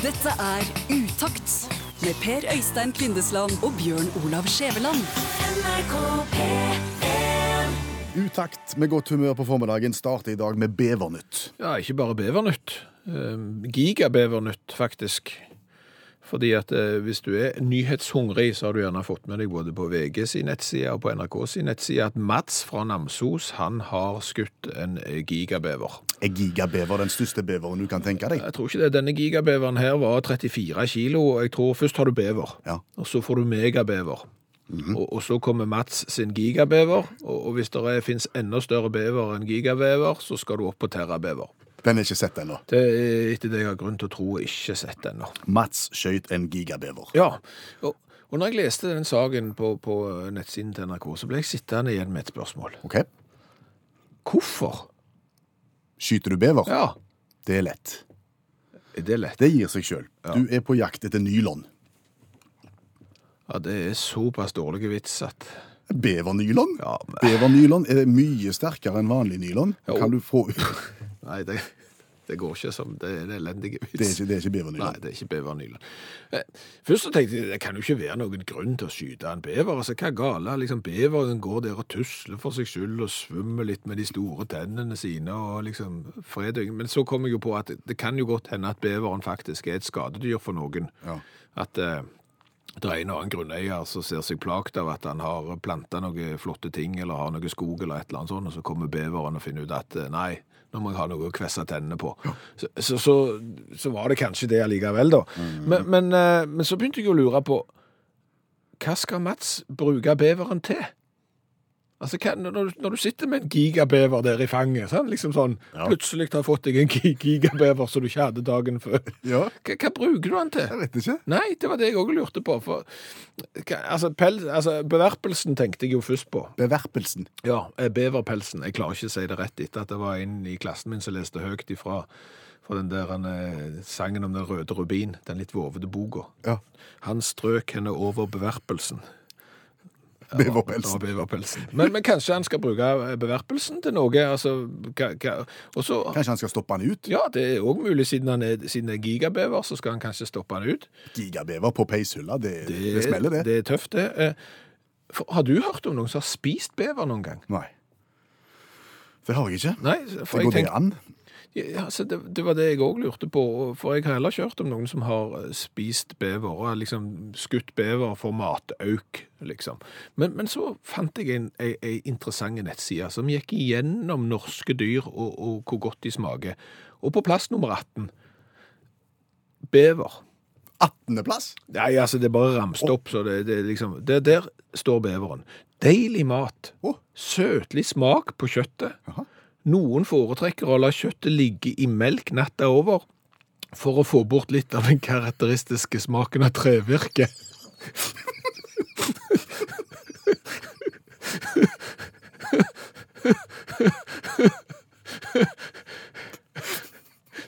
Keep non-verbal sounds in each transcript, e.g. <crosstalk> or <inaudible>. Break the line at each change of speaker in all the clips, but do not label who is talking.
Dette er Utakt med Per Øystein Kvindesland og Bjørn Olav Skjæveland.
Utakt med godt humør på formiddagen starter i dag med bevernytt.
Ja, ikke bare bevernytt. Eh, Gigabevernytt, faktisk. Fordi at eh, hvis du er nyhetshungrig, så har du gjerne fått med deg både på VG sin nettside og på NRK sin nettside at Mats fra Namsos, han har skutt en eh, gigabever.
Er gigabever den største beveren du kan tenke deg?
Jeg tror ikke det. Denne gigabeveren her var 34 kilo, og jeg tror først har du bever.
Ja.
Og så får du megabever. og, og så kommer Mats sin gigabever, og, og hvis det er- finnes enda større bever enn gigabever, så skal du opp på terrabever.
Den er ikke sett ennå.
Det er etter det jeg har grunn til å tro ikke sett ennå.
Mats skjøt en gigabever.
Ja, og, og når jeg leste den saken på, på nettsiden til NRK, så ble jeg sittende igjen med et spørsmål.
Ok,
Hvorfor?
skyter du bever?
Ja,
Det er lett.
er det lett?
Det gir seg sjøl. Du er på jakt etter nylon.
Ja, det er såpass dårlig vits at
Bevernylon?
Ja, men-
Bevernylon er mye sterkere enn vanlig nylon.
Jo.
Kan du få
Nei, det, det går ikke som Det er en elendig vits.
Det er ikke, det er ikke
Nei,
bevernylon.
det er ikke bevernylen. Eh, Først så tenkte jeg, det kan jo ikke være noen grunn til å skyte en bever. Altså, hva er gale? Liksom, beveren går der og tusler for seg skyld og svømmer litt med de store tennene sine og liksom fredøgn. Men så kom jeg jo på at det kan jo godt hende at beveren faktisk er et skadedyr for noen.
Ja.
At eh, det er en og annen grunneier som ser seg plagt av at han har planta noen flotte ting eller har noe skog eller et eller annet sånt, og så kommer beveren og finner ut at eh, nei, nå må jeg ha noe å kvesse tennene på. Så, så, så, så var det kanskje det allikevel, da.
Mm.
men, men, eh, men så begynte jeg å lure på hva skal Mats bruke beveren til? Altså, hva, når, du- når du sitter med en gigabever der i fanget, sant? liksom sånn,
Ja.
plutselig har fått deg en gi- gigabever som du ikke hadde dagen før.
Ja.
Hva, hva bruker du den til?
Jeg vet ikke.
Nei, det var det jeg òg lurte på. For, hva- altså, pels, altså, beverpelsen tenkte jeg jo først på.
Beverpelsen.
Ja, eh, beverpelsen. Jeg klarer ikke å si det rett etter at det var en i klassen min som leste høyt ifra fra den der eh, sangen om den røde rubin, den litt vovede boka.
Ja.
Han strøk henne over beverpelsen. Ja,
<laughs> Beverpelsen.
beverpelsen. Men, men kanskje han skal bruke eh, beverpelsen til noe? Altså, hva, hva, og så
Kanskje han skal stoppe han ut?
Ja, det er òg mulig, siden han er, siden det er gigabever, så skal han kanskje stoppe han ut.
Gigabever på peishylla, det, det, smeller, det.
Det er tøft, det. Eh, For, har du hørt om noen som har spist bever noen gang?
Nei. Det har jeg ikke.
Nei, for
Det
jeg
går det
tenkte,
an?
ja, altså, det, det var det jeg òg lurte på. og- For jeg har heller ikke hørt om noen som har eh, spist bever, og har liksom skutt bever for matauk, liksom. Men, men så fant jeg en, ei, ei interessant nettside som gikk igjennom norske dyr og, og hvor godt de smaker. Og på plass nummer 18 bever.
18. plass?
Nei, altså, det er bare ramst opp, så det, det er liksom det, Der står beveren. Deilig mat.
Å.
Søtlig smak på kjøttet.
Jaha.
Noen foretrekker å la kjøttet ligge i melk natta over for å få bort litt av den karakteristiske smaken av trevirke.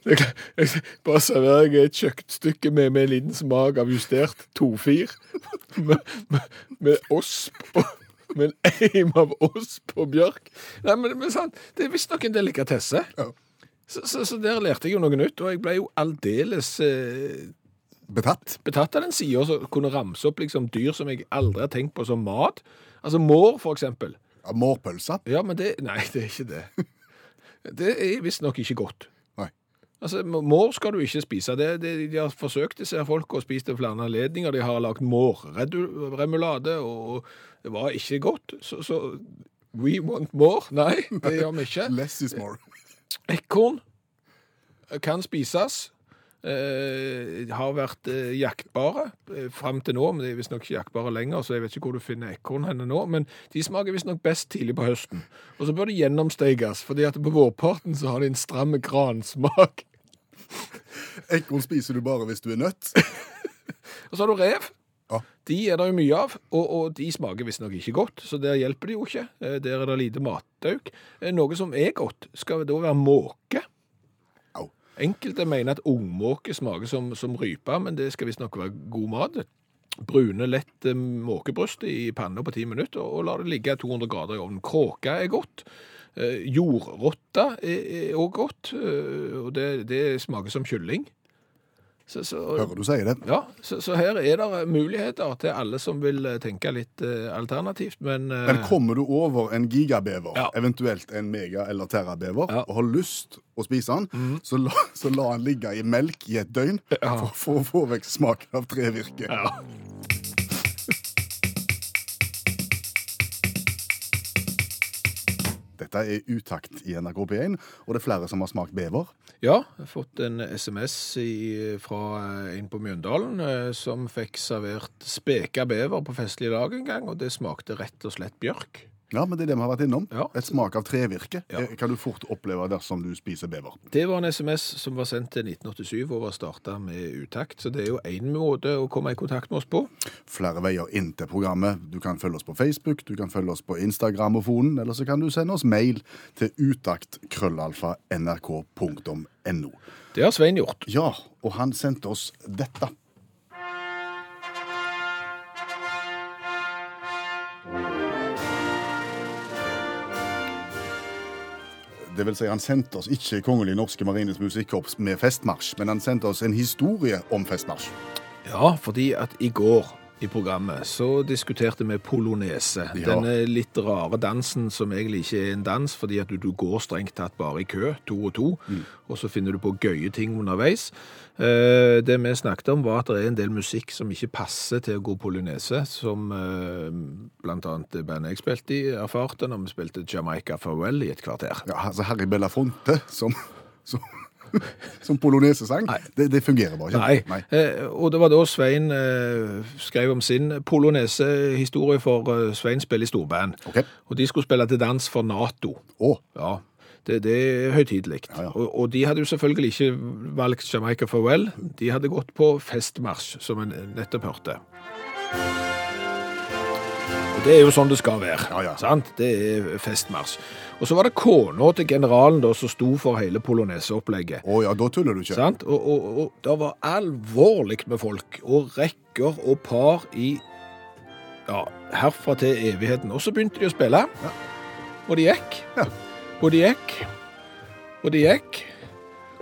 Det er klart- jeg- Bare serverer jeg et kjøttstykke med, med en liten smak av justert 2-4. Med, med, med osp og med en eim av osp og bjørk. Nei, men, men sant, Det er visstnok en delikatesse.
Ja.
Så, så, så der lærte jeg jo noe nytt, og jeg ble jo aldeles eh,
Betatt?
betatt av den sida som kunne ramse opp liksom, dyr som jeg aldri har tenkt på som mat. Altså mår, for eksempel.
Ja, Mårpølse?
Ja, men det Nei, det er ikke det. Det er visstnok ikke godt.
Nei.
Altså, m- Mår skal du ikke spise. Det, det, de har forsøkt, disse her folk, og spist det flere anledninger. De har lagd mårremulade, og det var ikke godt. Så, så We want more? Nei, det gjør vi ikke.
Less is more. <laughs>
Ekorn kan spises. Eh, har vært eh, jaktbare eh, fram til nå, men de er visstnok ikke jaktbare lenger, så jeg vet ikke hvor du finner ekorn henne nå. Men de smaker visstnok best tidlig på høsten. Og så bør de gjennomsteges, fordi at på vårparten så har de en stram gransmak.
Ekorn spiser du bare hvis du er nødt.
Og så har du rev.
Ja.
De er det jo mye av, og, og de smaker visstnok ikke godt, så der hjelper det jo ikke. Eh, Der er det lite matauk. Eh, Noe som er godt, skal da være måke.
Au.
Enkelte mener at ungmåke smaker som, som rype, men det skal visstnok være god mat. Brune lett eh, måkebryst i panna på ti minutter, og, og la det ligge 200 grader i ovnen. Kråke er godt. Eh, Jordrotte er òg godt, eh, og det, det smaker som kylling. Så, så,
Hører du sier det?
ja, så, så her er det muligheter til alle som vil eh, tenke litt eh, alternativt, men eh,
Men kommer du over en gigabever,
Ja.
eventuelt en mega- eller terrabever,
Ja. Mhm.
og har lyst å spise den, så, la, så la den ligge i melk i et døgn
Ja.
for, for å få vekk smaken av trevirke.
ja.
Dette er utakt i NRK P1, og det er flere som har smakt bever.
Ja, jeg har fått en SMS i, fra eh, en på Mjøndalen eh, som fikk servert speka bever på festlig lag en gang, og det smakte rett og slett bjørk.
Ja, men det er det vi har vært innom.
Ja.
Et smak av trevirke
Ja.
eh, kan du fort oppleve dersom du spiser bever.
Det var en SMS som var sendt til 1987 og var starta med utakt, så det er jo én måte å komme i kontakt med oss på.
Flere veier inn til programmet. Du kan følge oss på Facebook, du kan følge oss på Instagramofonen, eller så kan du sende oss mail til utakt.krøllalfa.nrk.no.
Det har Svein gjort.
Ja, og han sendte oss dette. Det vil si, han sendte oss ikke Kongelig Norske Marines Musikkorps med festmarsj, men han sendte oss en historie om festmarsj.
Ja, fordi at i går i programmet så diskuterte vi polonese.
Ja.
Denne litt rare dansen som egentlig ikke er en dans, fordi at du, du går strengt tatt bare i kø, to og to, og så finner du på gøye ting underveis. Eh, det vi snakket om var at det er en del musikk som ikke passer til å gå polonese, som eh, blant annet det bandet jeg spilte i erfarte når vi spilte Jamaica Farewell i et kvarter.
Ja, altså Harry Belafonte som, som, som polonesesang. Det, det fungerer bare
Nei.
ikke.
Eh, og det var da Svein eh, skrev om sin polonese-historie for eh, Svein spiller i storband.
Ok.
Og de skulle spille til dans for Nato.
Å,
Ja, det, det er høytidelig.
Ja, ja.
Og, og de hadde jo selvfølgelig ikke valgt Jamaica Farewell. De hadde gått på festmarsj, som en nettopp hørte. Og Det er jo sånn det skal være.
Ja, ja.
Sant? Det er festmarsj. Og så var det kona til generalen da, som sto for hele poloneseopplegget.
å ja, da tuller du ikke.
Sant? Og, og, og det var alvorlig med folk, og rekker og par i ja, herfra til evigheten. Og så begynte de å spille, og de gikk,
Ja.
og de gikk, og de gikk.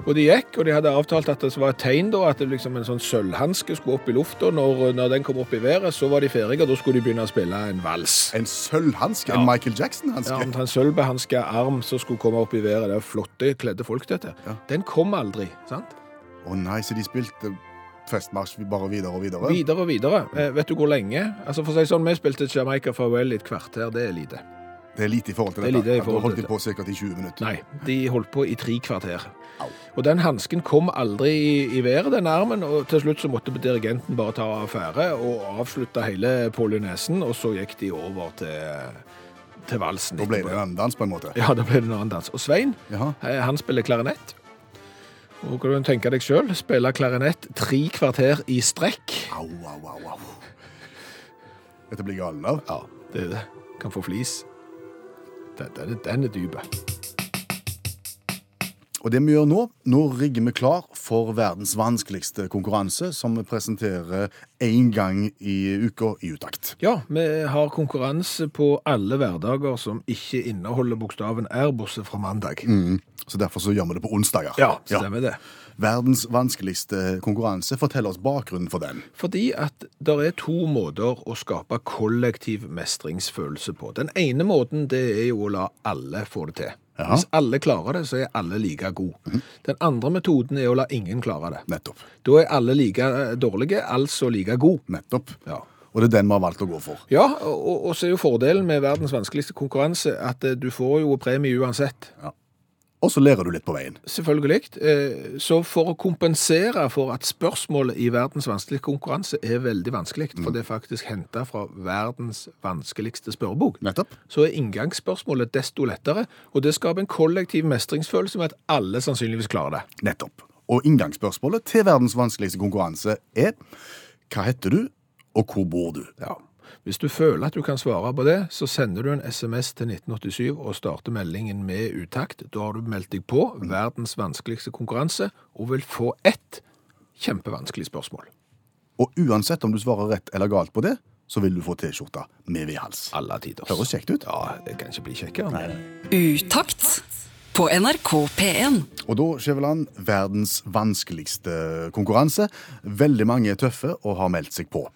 Og de gikk, og de hadde avtalt at det var et tegn da, at det liksom en sånn sølvhanske skulle opp i lufta. Når, når den kom opp i været, så var de ferdige, og da skulle de begynne å spille en vals.
En sølvhanske?
Ja.
En Michael
Ja,
Jackson-hanske?
omtrent sølvbehanska arm som skulle komme opp i været. Det var flotte, kledde folk, dette.
Ja.
Den kom aldri, sant?
Å nei, så de spilte festmarsj bare videre og videre?
Videre og videre. Eh, vet du hvor lenge? Altså for å si sånn, Vi spilte Jamaica Farewell i et kvarter, det er lite.
Det er lite i forhold til
Det er
dette.
lite i
Ja,
forhold
da holdt
til
de på sikkert i 20 minutter.
Nei, de holdt på i tre kvarter. Og den hansken kom aldri i, i været, den armen, og til slutt så måtte dirigenten bare ta affære og avslutte hele polynesen, og så gikk de over til, til valsen.
Da ble det
etterpå.
en dans, på en måte.
Ja, da ble det en annen dans. Og Svein,
Jaha.
eh, han spiller klarinett. Og kan du tenke deg sjøl, spille klarinett tre kvarter i strekk.
Au, au, au, au. Dette blir galen av.
Ja, det er det. Kan få flis. Den, den, er- den er dyp.
Og det vi gjør nå, nå rigger vi klar for verdens vanskeligste konkurranse, som vi presenterer én gang i uka i utakt.
Ja, vi har konkurranse på alle hverdager som ikke inneholder bokstaven R, bortsett fra mandag.
Så derfor så gjør vi det på onsdager.
Mm. Ja, stemmer det.
Verdens vanskeligste konkurranse. Fortell oss bakgrunnen for den.
Fordi at det er to måter å skape kollektiv mestringsfølelse på. Den ene måten det er jo å la alle få det til.
Ja.
Hvis alle klarer det, så er alle like gode. Den andre metoden er å la ingen klare det.
Nettopp.
Da er alle like eh, dårlige, altså like gode.
Nettopp.
Ja.
Og det er den vi har valgt å gå for.
Ja, og, og så er jo fordelen med verdens vanskeligste konkurranse at eh, du får jo premie uansett.
Og så lærer du litt på veien.
Selvfølgelig. Eh, Så for å kompensere for at spørsmålet i verdens vanskeligste konkurranse er veldig vanskelig, for det er faktisk henta fra verdens vanskeligste spørrebok,
Nettopp.
så er inngangsspørsmålet desto lettere, og det skaper en kollektiv mestringsfølelse med at alle sannsynligvis klarer det.
Nettopp. Og inngangsspørsmålet til verdens vanskeligste konkurranse er Hva heter du, og hvor bor du?
Ja. Hvis du føler at du kan svare på det, så sender du en SMS til 1987 og starter meldingen med utakt. Da har du meldt deg på verdens vanskeligste konkurranse og vil få ett kjempevanskelig spørsmål.
Og uansett om du svarer rett eller galt på det, så vil du få T-skjorta med V-hals.
Alle tiders.
Høres kjekt ut.
Ja, det kan ikke bli kjekkere. men-
Utakt på NRK P1.
Og da, Skjæveland, verdens vanskeligste konkurranse. Veldig mange er tøffe og har meldt seg på.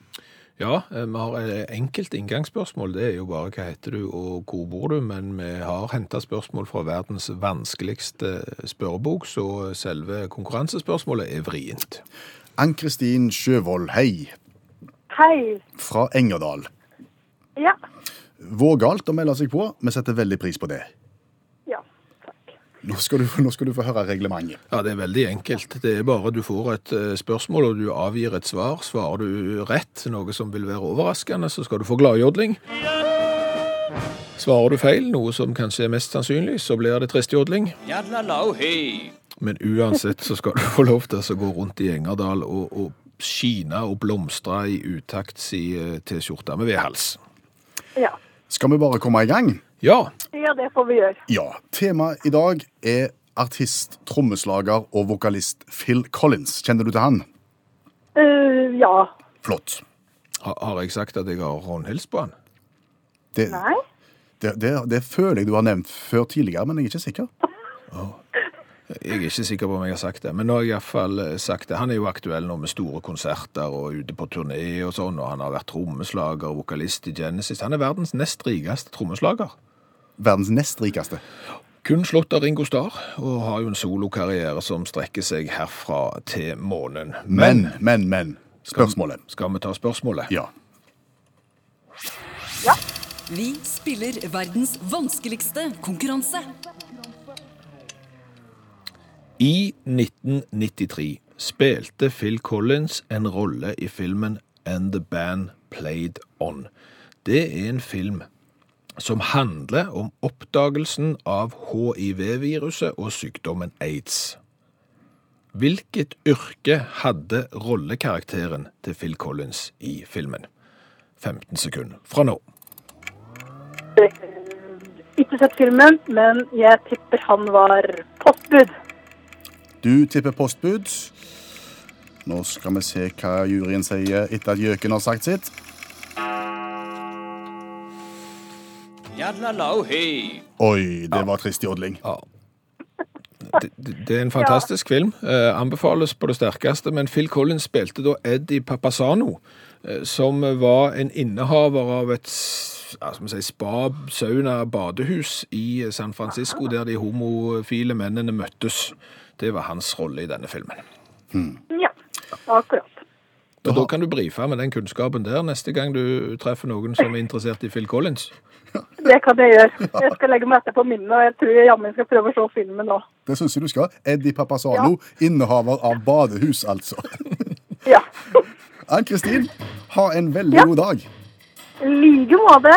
Ja, eh, vi har eh, enkelt inngangsspørsmål. Det er jo bare hva heter du og hvor bor du, men vi har henta spørsmål fra verdens vanskeligste spørrebok, så selve konkurransespørsmålet er vrient.
Ann-Kristin Sjøvold, hei,
Hei.
fra Engerdal.
Ja.
Vågalt å melde seg på, vi setter veldig pris på det.
Ja. Takk.
Nå skal du, nå skal du få høre reglementet.
Ja, det er veldig enkelt. Det er bare du får et eh, spørsmål, og du avgir et svar. Svarer du rett, noe som vil være overraskende, så skal du få gladjodling. Svarer du feil, noe som kanskje er mest sannsynlig, så blir det tristjodling. Men uansett så skal du få lov til å gå rundt i Engerdal og, og skine og blomstre i utakt si eh, T-skjorte med vedhals.
Ja.
Skal vi bare komme i gang?
Ja,
ja, det får vi gjøre.
Ja. Temaet i dag er artist, trommeslager og vokalist Phil Collins. Kjenner du til han?
Eh, ja.
Flott.
ha- har jeg sagt at jeg har håndhils på han?
Det,
Nei.
det, det, det føler jeg du har nevnt før tidligere, men jeg er ikke sikker.
Jeg er ikke sikker på om jeg har sagt det, men nå har jeg iallfall eh, sagt det. Han er jo aktuell nå med store konserter og ute på turné og sånn, og han har vært trommeslager og vokalist i Genesis. Han er verdens nest rikeste trommeslager.
Verdens nest rikeste.
Kun slått av Ringo Starr, og har jo en solokarriere som strekker seg herfra til månen.
Men, men, men. Spørsmålet.
Skal vi ta spørsmålet?
Ja.
Vi spiller verdens vanskeligste konkurranse.
I 1993 spilte Phil Collins en rolle i filmen And the Band Played On. Det er en film som handler om oppdagelsen av HIV-viruset og sykdommen aids. Hvilket yrke hadde rollekarakteren til Phil Collins i filmen? 15 sekunder fra nå.
eh, Ikke sett filmen, men jeg tipper han var postbud.
Du tipper postbud. Nå skal vi se hva juryen sier etter at gjøken har sagt sitt. Oi, det var trist jodling.
Ja. Det, det det er en fantastisk film. Eh, anbefales på det sterkeste. Men Phil Collins spilte da Eddie Papasano, eh, som var en innehaver av et s- ja, skal vi si, spa, sauna, badehus i eh, San Francisco, der de homofile mennene møttes. Det var hans rolle i denne filmen.
Ja, akkurat.
Og da kan du brife med den kunnskapen der neste gang du treffer noen som er interessert i Phil Collins.
Det kan jeg gjøre. Jeg skal legge meg etterpå minnet, og jeg tror jeg jammen skal prøve å se filmen nå.
Det syns jeg du skal. Eddie Papasano, innehaver av badehus, altså. <laughs>
Ja.
Ann-Kristin, ha en veldig
Ja.
god dag.
I like måte.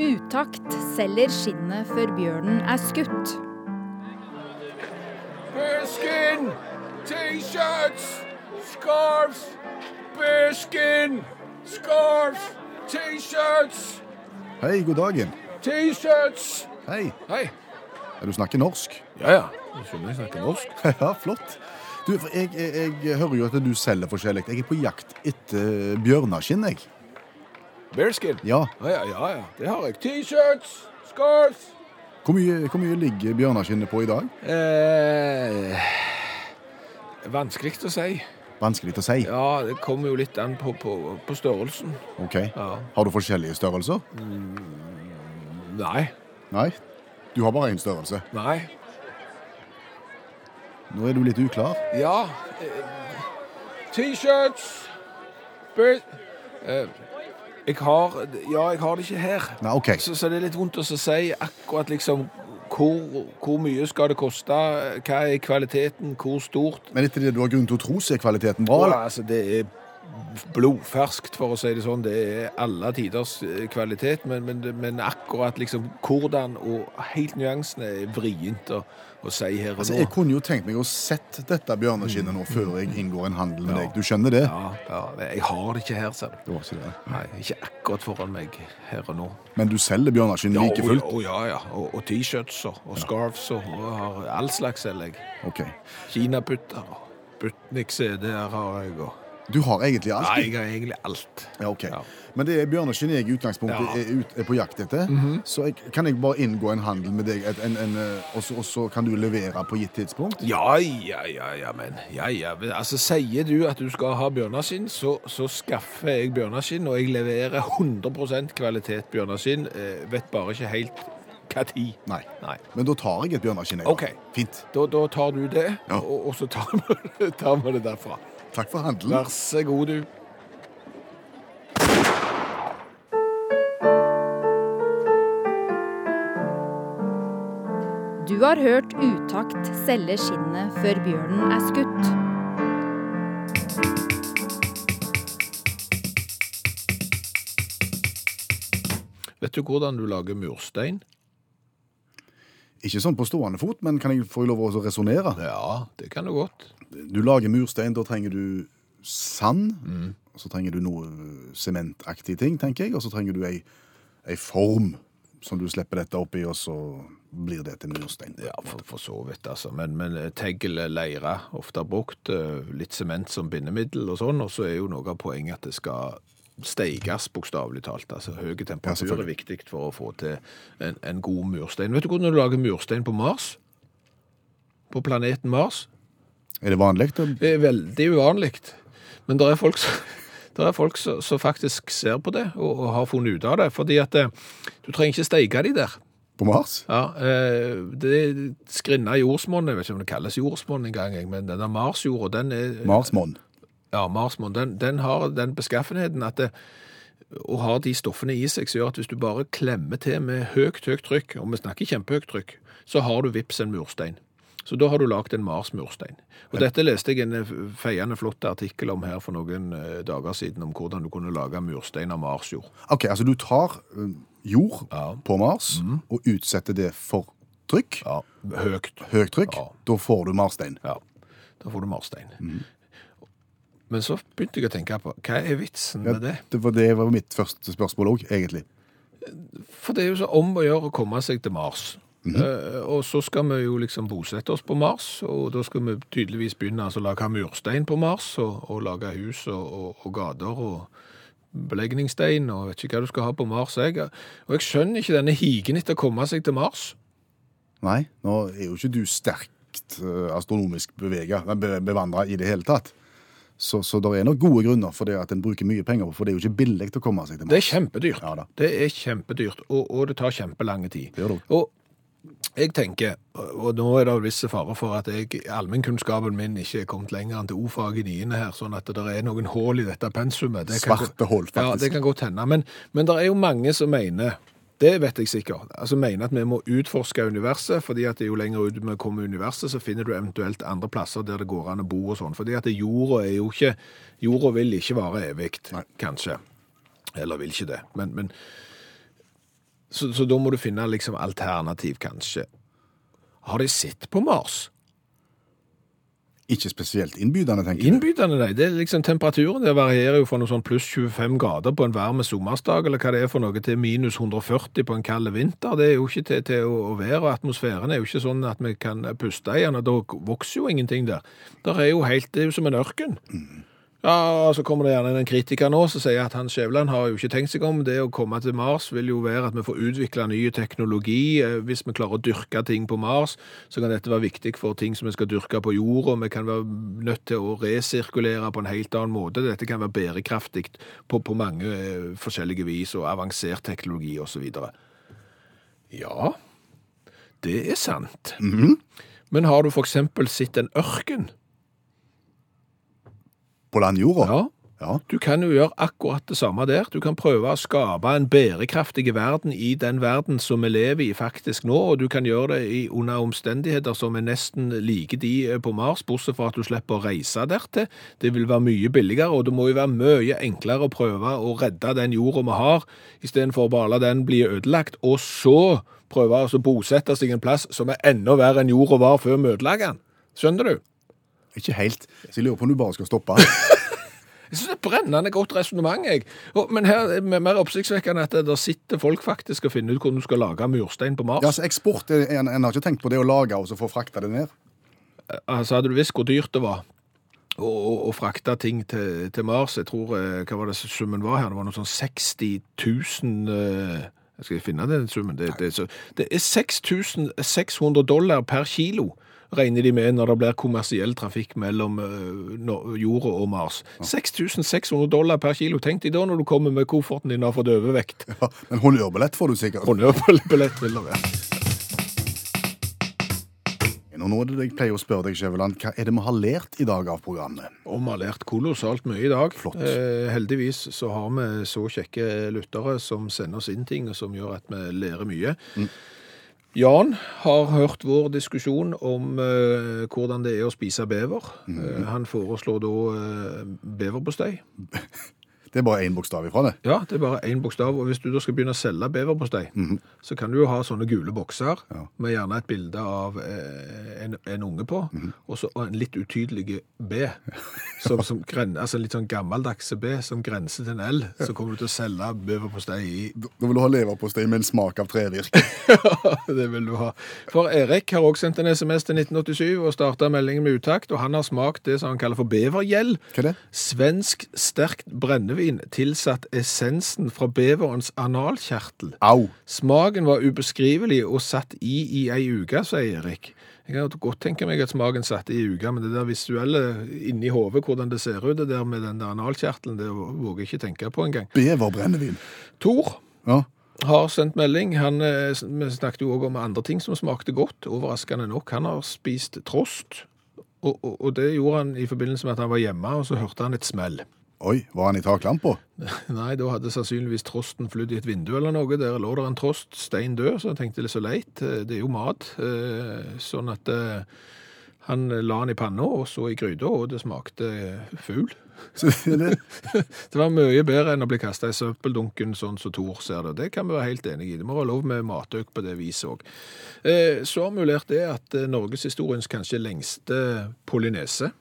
Utakt selger skinnet før bjørnen er skutt.
Bearskin! T-shirts! Scarves! Bearskin! Scarves! T-shirts!
Hei, god dagen.
T-shirts!
Hei.
Hei.
Ja, Du snakker norsk.
Ja, ja. Jeg skjønner jeg snakker norsk.
<laughs> Ja, flott. Du, for jeg, jeg, jeg hører jo at du selger forskjellig. Jeg er på jakt etter bjørneskinn, jeg.
Bearskin?
Ja.
Ja, ja, ja. ja. Det har jeg. T-shirts! Scarves!
Hvor mye, hvor mye ligger bjørneskinnet på i dag?
Eh, vanskelig å si.
Vanskelig å si.
Ja, det kommer jo litt an på, på, på størrelsen.
Ok.
Ja.
Har du forskjellige størrelser?
Nei.
Nei. Du har bare én størrelse.
Nei.
Nå er du litt uklar.
Ja. eh, T-shirts Bø- eh, Jeg har Ja, jeg har det ikke her.
Nei, OK.
Så, så det er litt vondt å så si akkurat liksom hvor, hvor mye skal det koste? Hva er kvaliteten? Hvor stort?
Men etter det du har grunn til å tro, så er kvaliteten bra?
Og,
eller?
altså, det er blodferskt, for å si det sånn. Det er alle tiders eh, kvalitet. Men, men, men akkurat liksom hvordan og helt nyansene er vrient å, å si her og
Altså,
nå.
jeg kunne jo tenkt meg å sett dette bjørneskinnet nå før jeg inngår en handel med deg. Du skjønner det?
Ja, ja, men jeg har det ikke her, ser du.
Det var ikke det.
Nei, ikke akkurat foran meg her og nå.
Men du selger bjørneskinn like fullt?
Å, ja, ja. Og, og T-shirts og, og scarves og, og jeg har all slags selger jeg.
Ok.
Kinaputter og Butnik-CD-er har jeg og
Du har egentlig alt.
Nei, jeg har egentlig alt.
Ja, ok.
Ja.
Men det er bjørneskinn jeg i utgangspunktet
Ja.
er, ut, er på jakt etter. Så jeg, kan jeg bare inngå en handel med deg, et- en, en, eh, og så- og så kan du levere på gitt tidspunkt?
Ja, ja, ja, ja, men ja, ja. men, Altså, sier du at du skal ha bjørneskinn, så, så skaffer jeg bjørneskinn, og jeg leverer 100 kvalitet bjørneskinn. Eh, vet bare ikke helt hva tid.
Nei.
Nei.
Men da tar jeg et bjørneskinn. jeg, da.
Ok.
Fint.
Da, da tar du det,
Ja.
og, og så tar vi, <laughs> tar vi det derfra.
Takk for handelen.
Vær så god, du.
Du har hørt Utakt selge skinnet før bjørnen er skutt.
Vet du hvordan du lager murstein?
Ikke sånn på stående fot, men kan jeg få lov å resonnere?
Ja, det kan du godt.
Du lager murstein, da trenger du sand.
Mm.
og Så trenger du noe eh, sementaktige ting, tenker jeg. Og så trenger du ei, ei form som du slipper dette oppi, og så blir det til murstein.
Ja, for, for så vidt, altså. Men, men tegl, leire, ofte brukt. eh, Litt sement som bindemiddel og sånn. Og så er jo noe av poenget at det skal steiges, bokstavelig talt. Altså høy temperatur er
selvfølgelig.
viktig for å få til en, en god murstein. Vet du hvordan du lager murstein på Mars? På planeten Mars?
Er det vanlig? da?
Det er veldig uvanlig. Men det er folk, som- <laughs> der er folk som, som faktisk ser på det, og, og har funnet ut av det. Fordi at eh, du trenger ikke steike de der.
På Mars?
Ja, eh, det skrinna jordsmonnet, jeg vet ikke om det kalles jordsmonn engang, jeg, men denne Marsjorda, den er
Marsmonn.
Ja, Marsmonn, den, den har den beskaffenheten at det, og har de stoffene i seg som gjør at hvis du bare klemmer til med høyt, høyt trykk, og vi snakker kjempehøyt trykk, så har du vips en murstein. Så da har du lagd en Mars-murstein. Og dette leste jeg en eh, feiende flott artikkel om her for noen eh, dager siden, om hvordan du kunne lage murstein av marsjord.
Ok, altså du tar eh, jord
Ja. Mhm.
på Mars og utsetter det for trykk,
Ja, høyt.
høyt trykk,
Ja.
da får du marstein.
Ja, da får du marstein.
Mm.
Men så begynte jeg å tenke på, hva er vitsen med det?
Det var, det var mitt første spørsmål òg, egentlig.
For det er jo så om å gjøre å komme seg til Mars.
Mhm.
Eh, og så skal vi jo liksom bosette oss på Mars, og da skal vi tydeligvis begynne altså, å lage murstein på Mars, og, og lage hus og, og, og gater og belegningsstein, og vet ikke hva du skal ha på Mars. Jeg. Og jeg skjønner ikke denne higen etter å komme seg til Mars.
Nei, nå er jo ikke du sterkt eh, astronomisk bevega, be, bevandra i det hele tatt. Så, så det er nok gode grunner for det at en bruker mye penger på, for det er jo ikke billig å komme seg til
Det er
Mars.
kjempedyrt.
Ja da.
det er kjempedyrt, og, og det tar kjempelange tid.
Det gjør det.
Og jeg tenker, og nå er det jo visse farer for at jeg, allmennkunnskapen min ikke er kommet lenger enn til O-fag i niende her, sånn at det er noen hål i dette pensumet. Det kan
Svarte
gå-
hål, faktisk.
Ja, det kan godt hende. Men, men det er jo mange som mener det vet jeg sikkert. Altså mener at vi må utforske universet, fordi at jo lenger ut vi kommer i universet, så finner du eventuelt andre plasser der det går an å bo og sånn. Fordi at jorda er jo ikke Jorda vil ikke vare evig, kanskje. Eller vil ikke det. Men, men så, så da må du finne liksom alternativ, kanskje. Har de sett på Mars?
Ikke spesielt innbydende, tenker jeg.
Innbydende, nei. Det er liksom temperaturen der varierer jo fra noe sånn pluss 25 grader på en varm sommersdag, eller hva det er for noe, til minus 140 på en kald vinter. Det er jo ikke til, til å, å være, og atmosfæren er jo ikke sånn at vi kan puste igjen, og da vokser jo ingenting der. Der er jo helt, det er jo som en ørken. Ja, og Så kommer det gjerne en kritiker nå som sier at han Skjæveland har jo ikke tenkt seg om. Det å komme til Mars vil jo være at vi får utvikla ny teknologi. Eh, Hvis vi klarer å dyrke ting på Mars, så kan dette være viktig for ting som vi skal dyrke på jorda. Vi kan være nødt til å resirkulere på en helt annen måte. Dette kan være bærekraftig på, på mange eh, forskjellige vis, og avansert teknologi osv. Ja, det er sant. Men har du f.eks. sett en ørken?
På landjorda?
Ja.
Ja.
Du kan jo gjøre akkurat det samme der. Du kan prøve å skape en bærekraftig verden i den verden som vi lever i faktisk nå, og du kan gjøre det i, under omstendigheter som er nesten like de eh, på Mars, bortsett fra at du slipper å reise dertil. Det vil være mye billigere, og det må jo være mye enklere å prøve å redde den jorda vi har, istedenfor å bare la den bli ødelagt, og så prøve å bosette seg en plass som er enda verre enn jorda var før vi ødela den. Skjønner du?
Ikke helt. Så jeg lurer på om du bare skal stoppe.
Jeg synes det er et brennende godt resonnement, jeg. Og, men her er det mer oppsiktsvekkende at det- der sitter folk faktisk og finner ut hvordan du skal lage murstein på Mars.
Ja, så eksport, eh, en, en har ikke tenkt på det å lage og så få frakta det ned. <laughs>
Eh, Altså, hadde du visst hvor dyrt det var, og, og, og frakta ting til, til Mars. Jeg tror eh, Hva var det summen var her? Det var noe sånn 60 000 eh, Jeg skal finne den summen. Det, det, er så, det er 6600 dollar per kilo. Regner de med når det blir kommersiell trafikk mellom eh, Nor- jorda og Mars. 6600 dollar per kilo. Tenk deg da når du kommer med kofferten din og har fått overvekt.
Ja, men honnørbillett får du sikkert.
Honnørbillett vil det være.
Og nå er det det jeg pleier å spørre deg, Skjæveland, hva er det vi har lært i dag av programmet?
Og vi har lært kolossalt mye i dag.
Flott.
Eh, heldigvis så har vi så kjekke lyttere som sender oss inn ting, og som gjør at vi lærer mye. Jan har hørt vår diskusjon om eh, hvordan det er å spise bever. Eh, han foreslår da eh, beverpostei.
Det er bare én bokstav ifra det.
Ja, det er bare én bokstav. Og hvis du da skal begynne å selge beverpostei, så kan du jo ha sånne gule bokser med gjerne et bilde av eh, en, en unge på, og så en litt utydelig B. Som, som gren, altså en litt sånn gammeldags B som grenser til en L. Så kommer du til å selge beverpostei i
Da da vil du ha leverpostei med en smak av trevirke.
<laughs> Det vil du ha. For Erik har også sendt en SMS til 1987 og starta meldingen med utakt, og han har smakt det som han kaller for bevergjell.
Hva er det?
Svensk sterkt brennevin tilsatt essensen fra beverens analkjertel.
<laughs> Au!
Smaken var ubeskrivelig og satt i i ei uke, sier Erik. Jeg kan godt tenke meg at smaken satt i ei uke, men det der visuelle inni hodet, hvordan det ser ut, det der med den der analkjertelen, det våger jeg ikke tenke på engang.
Beverbrennevin.
Tor
Ja.
har sendt melding. Han, eh, s- vi snakket jo òg om andre ting som smakte godt, overraskende nok. Han har spist trost, og, og, og det gjorde han i forbindelse med at han var hjemme, og så hørte han et smell. <laughs>
Oi, var han i taklampa?
Nei, da hadde sannsynligvis trosten flydd i et vindu eller noe. Der lå det en trost, stein død, så han tenkte det er så leit. eh, Det er jo mat. eh, Sånn at eh, han la den i panna, og så i gryta, og det smakte fugl.
<laughs> Så det-
Det var mye bedre enn å bli kasta i søppeldunken, sånn som Tor ser det. Det kan vi være helt enig i. Det må være lov med matøk på det viset òg. Så har vi jo lært det at eh, norgeshistoriens kanskje lengste polynese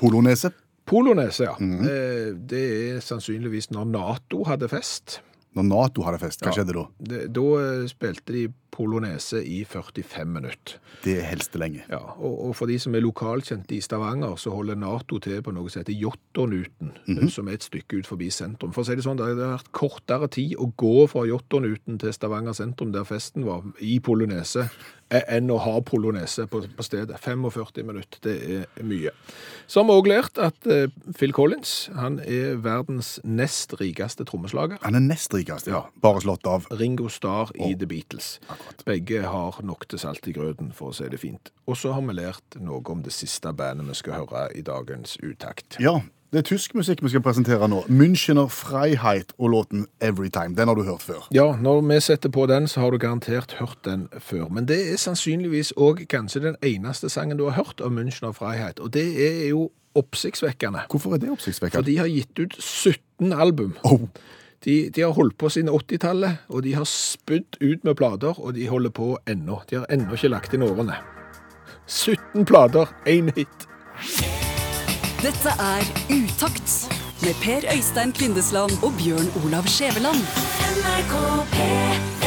Polonese.
Polonese, ja. eh, Det er sannsynligvis når Nato hadde fest.
Når Nato hadde fest, hva skjedde da?
Det, da eh, spilte de polonese i 45 minutter.
Det er helst lenge.
Ja, og, og for de som er lokalkjente i Stavanger, så holder Nato til på noe som heter Jåttånuten, eh, som er et stykke ut forbi sentrum. For å si det sånn, det har vært kortere tid å gå fra Jåttånuten til Stavanger sentrum, der festen var, i polonese, eh, enn å ha polonese på, på stedet. 45 minutter, det er mye. Så har vi også lært at eh, Phil Collins, han er verdens nest rikeste trommeslager.
Han er nest rikest, ja. Bare slått av.
Ringo Starr i The Beatles. Begge har nok til salt i grøten, for å si det fint. Og så har vi lært noe om det siste bandet vi skal høre i dagens utakt.
Ja, det er tysk musikk vi skal presentere nå. Münchener Freiheit og låten Every Time. Den har du hørt før.
Ja, når vi setter på den, så har du garantert hørt den før. Men det er sannsynligvis òg kanskje den eneste sangen du har hørt av München og Freiheit. Og det er jo oppsiktsvekkende.
Hvorfor er det
For
oppsiktsvekkende?
de har gitt ut 17 album.
Oh,
De, de har holdt på siden 80-tallet, og de har spydd ut med plater, og de holder på ennå. De har ennå ikke lagt inn årene. 17 plater, én hit.
Dette er Utakt med Per Øystein Kvindesland og Bjørn Olav Skjæveland.
NRK P3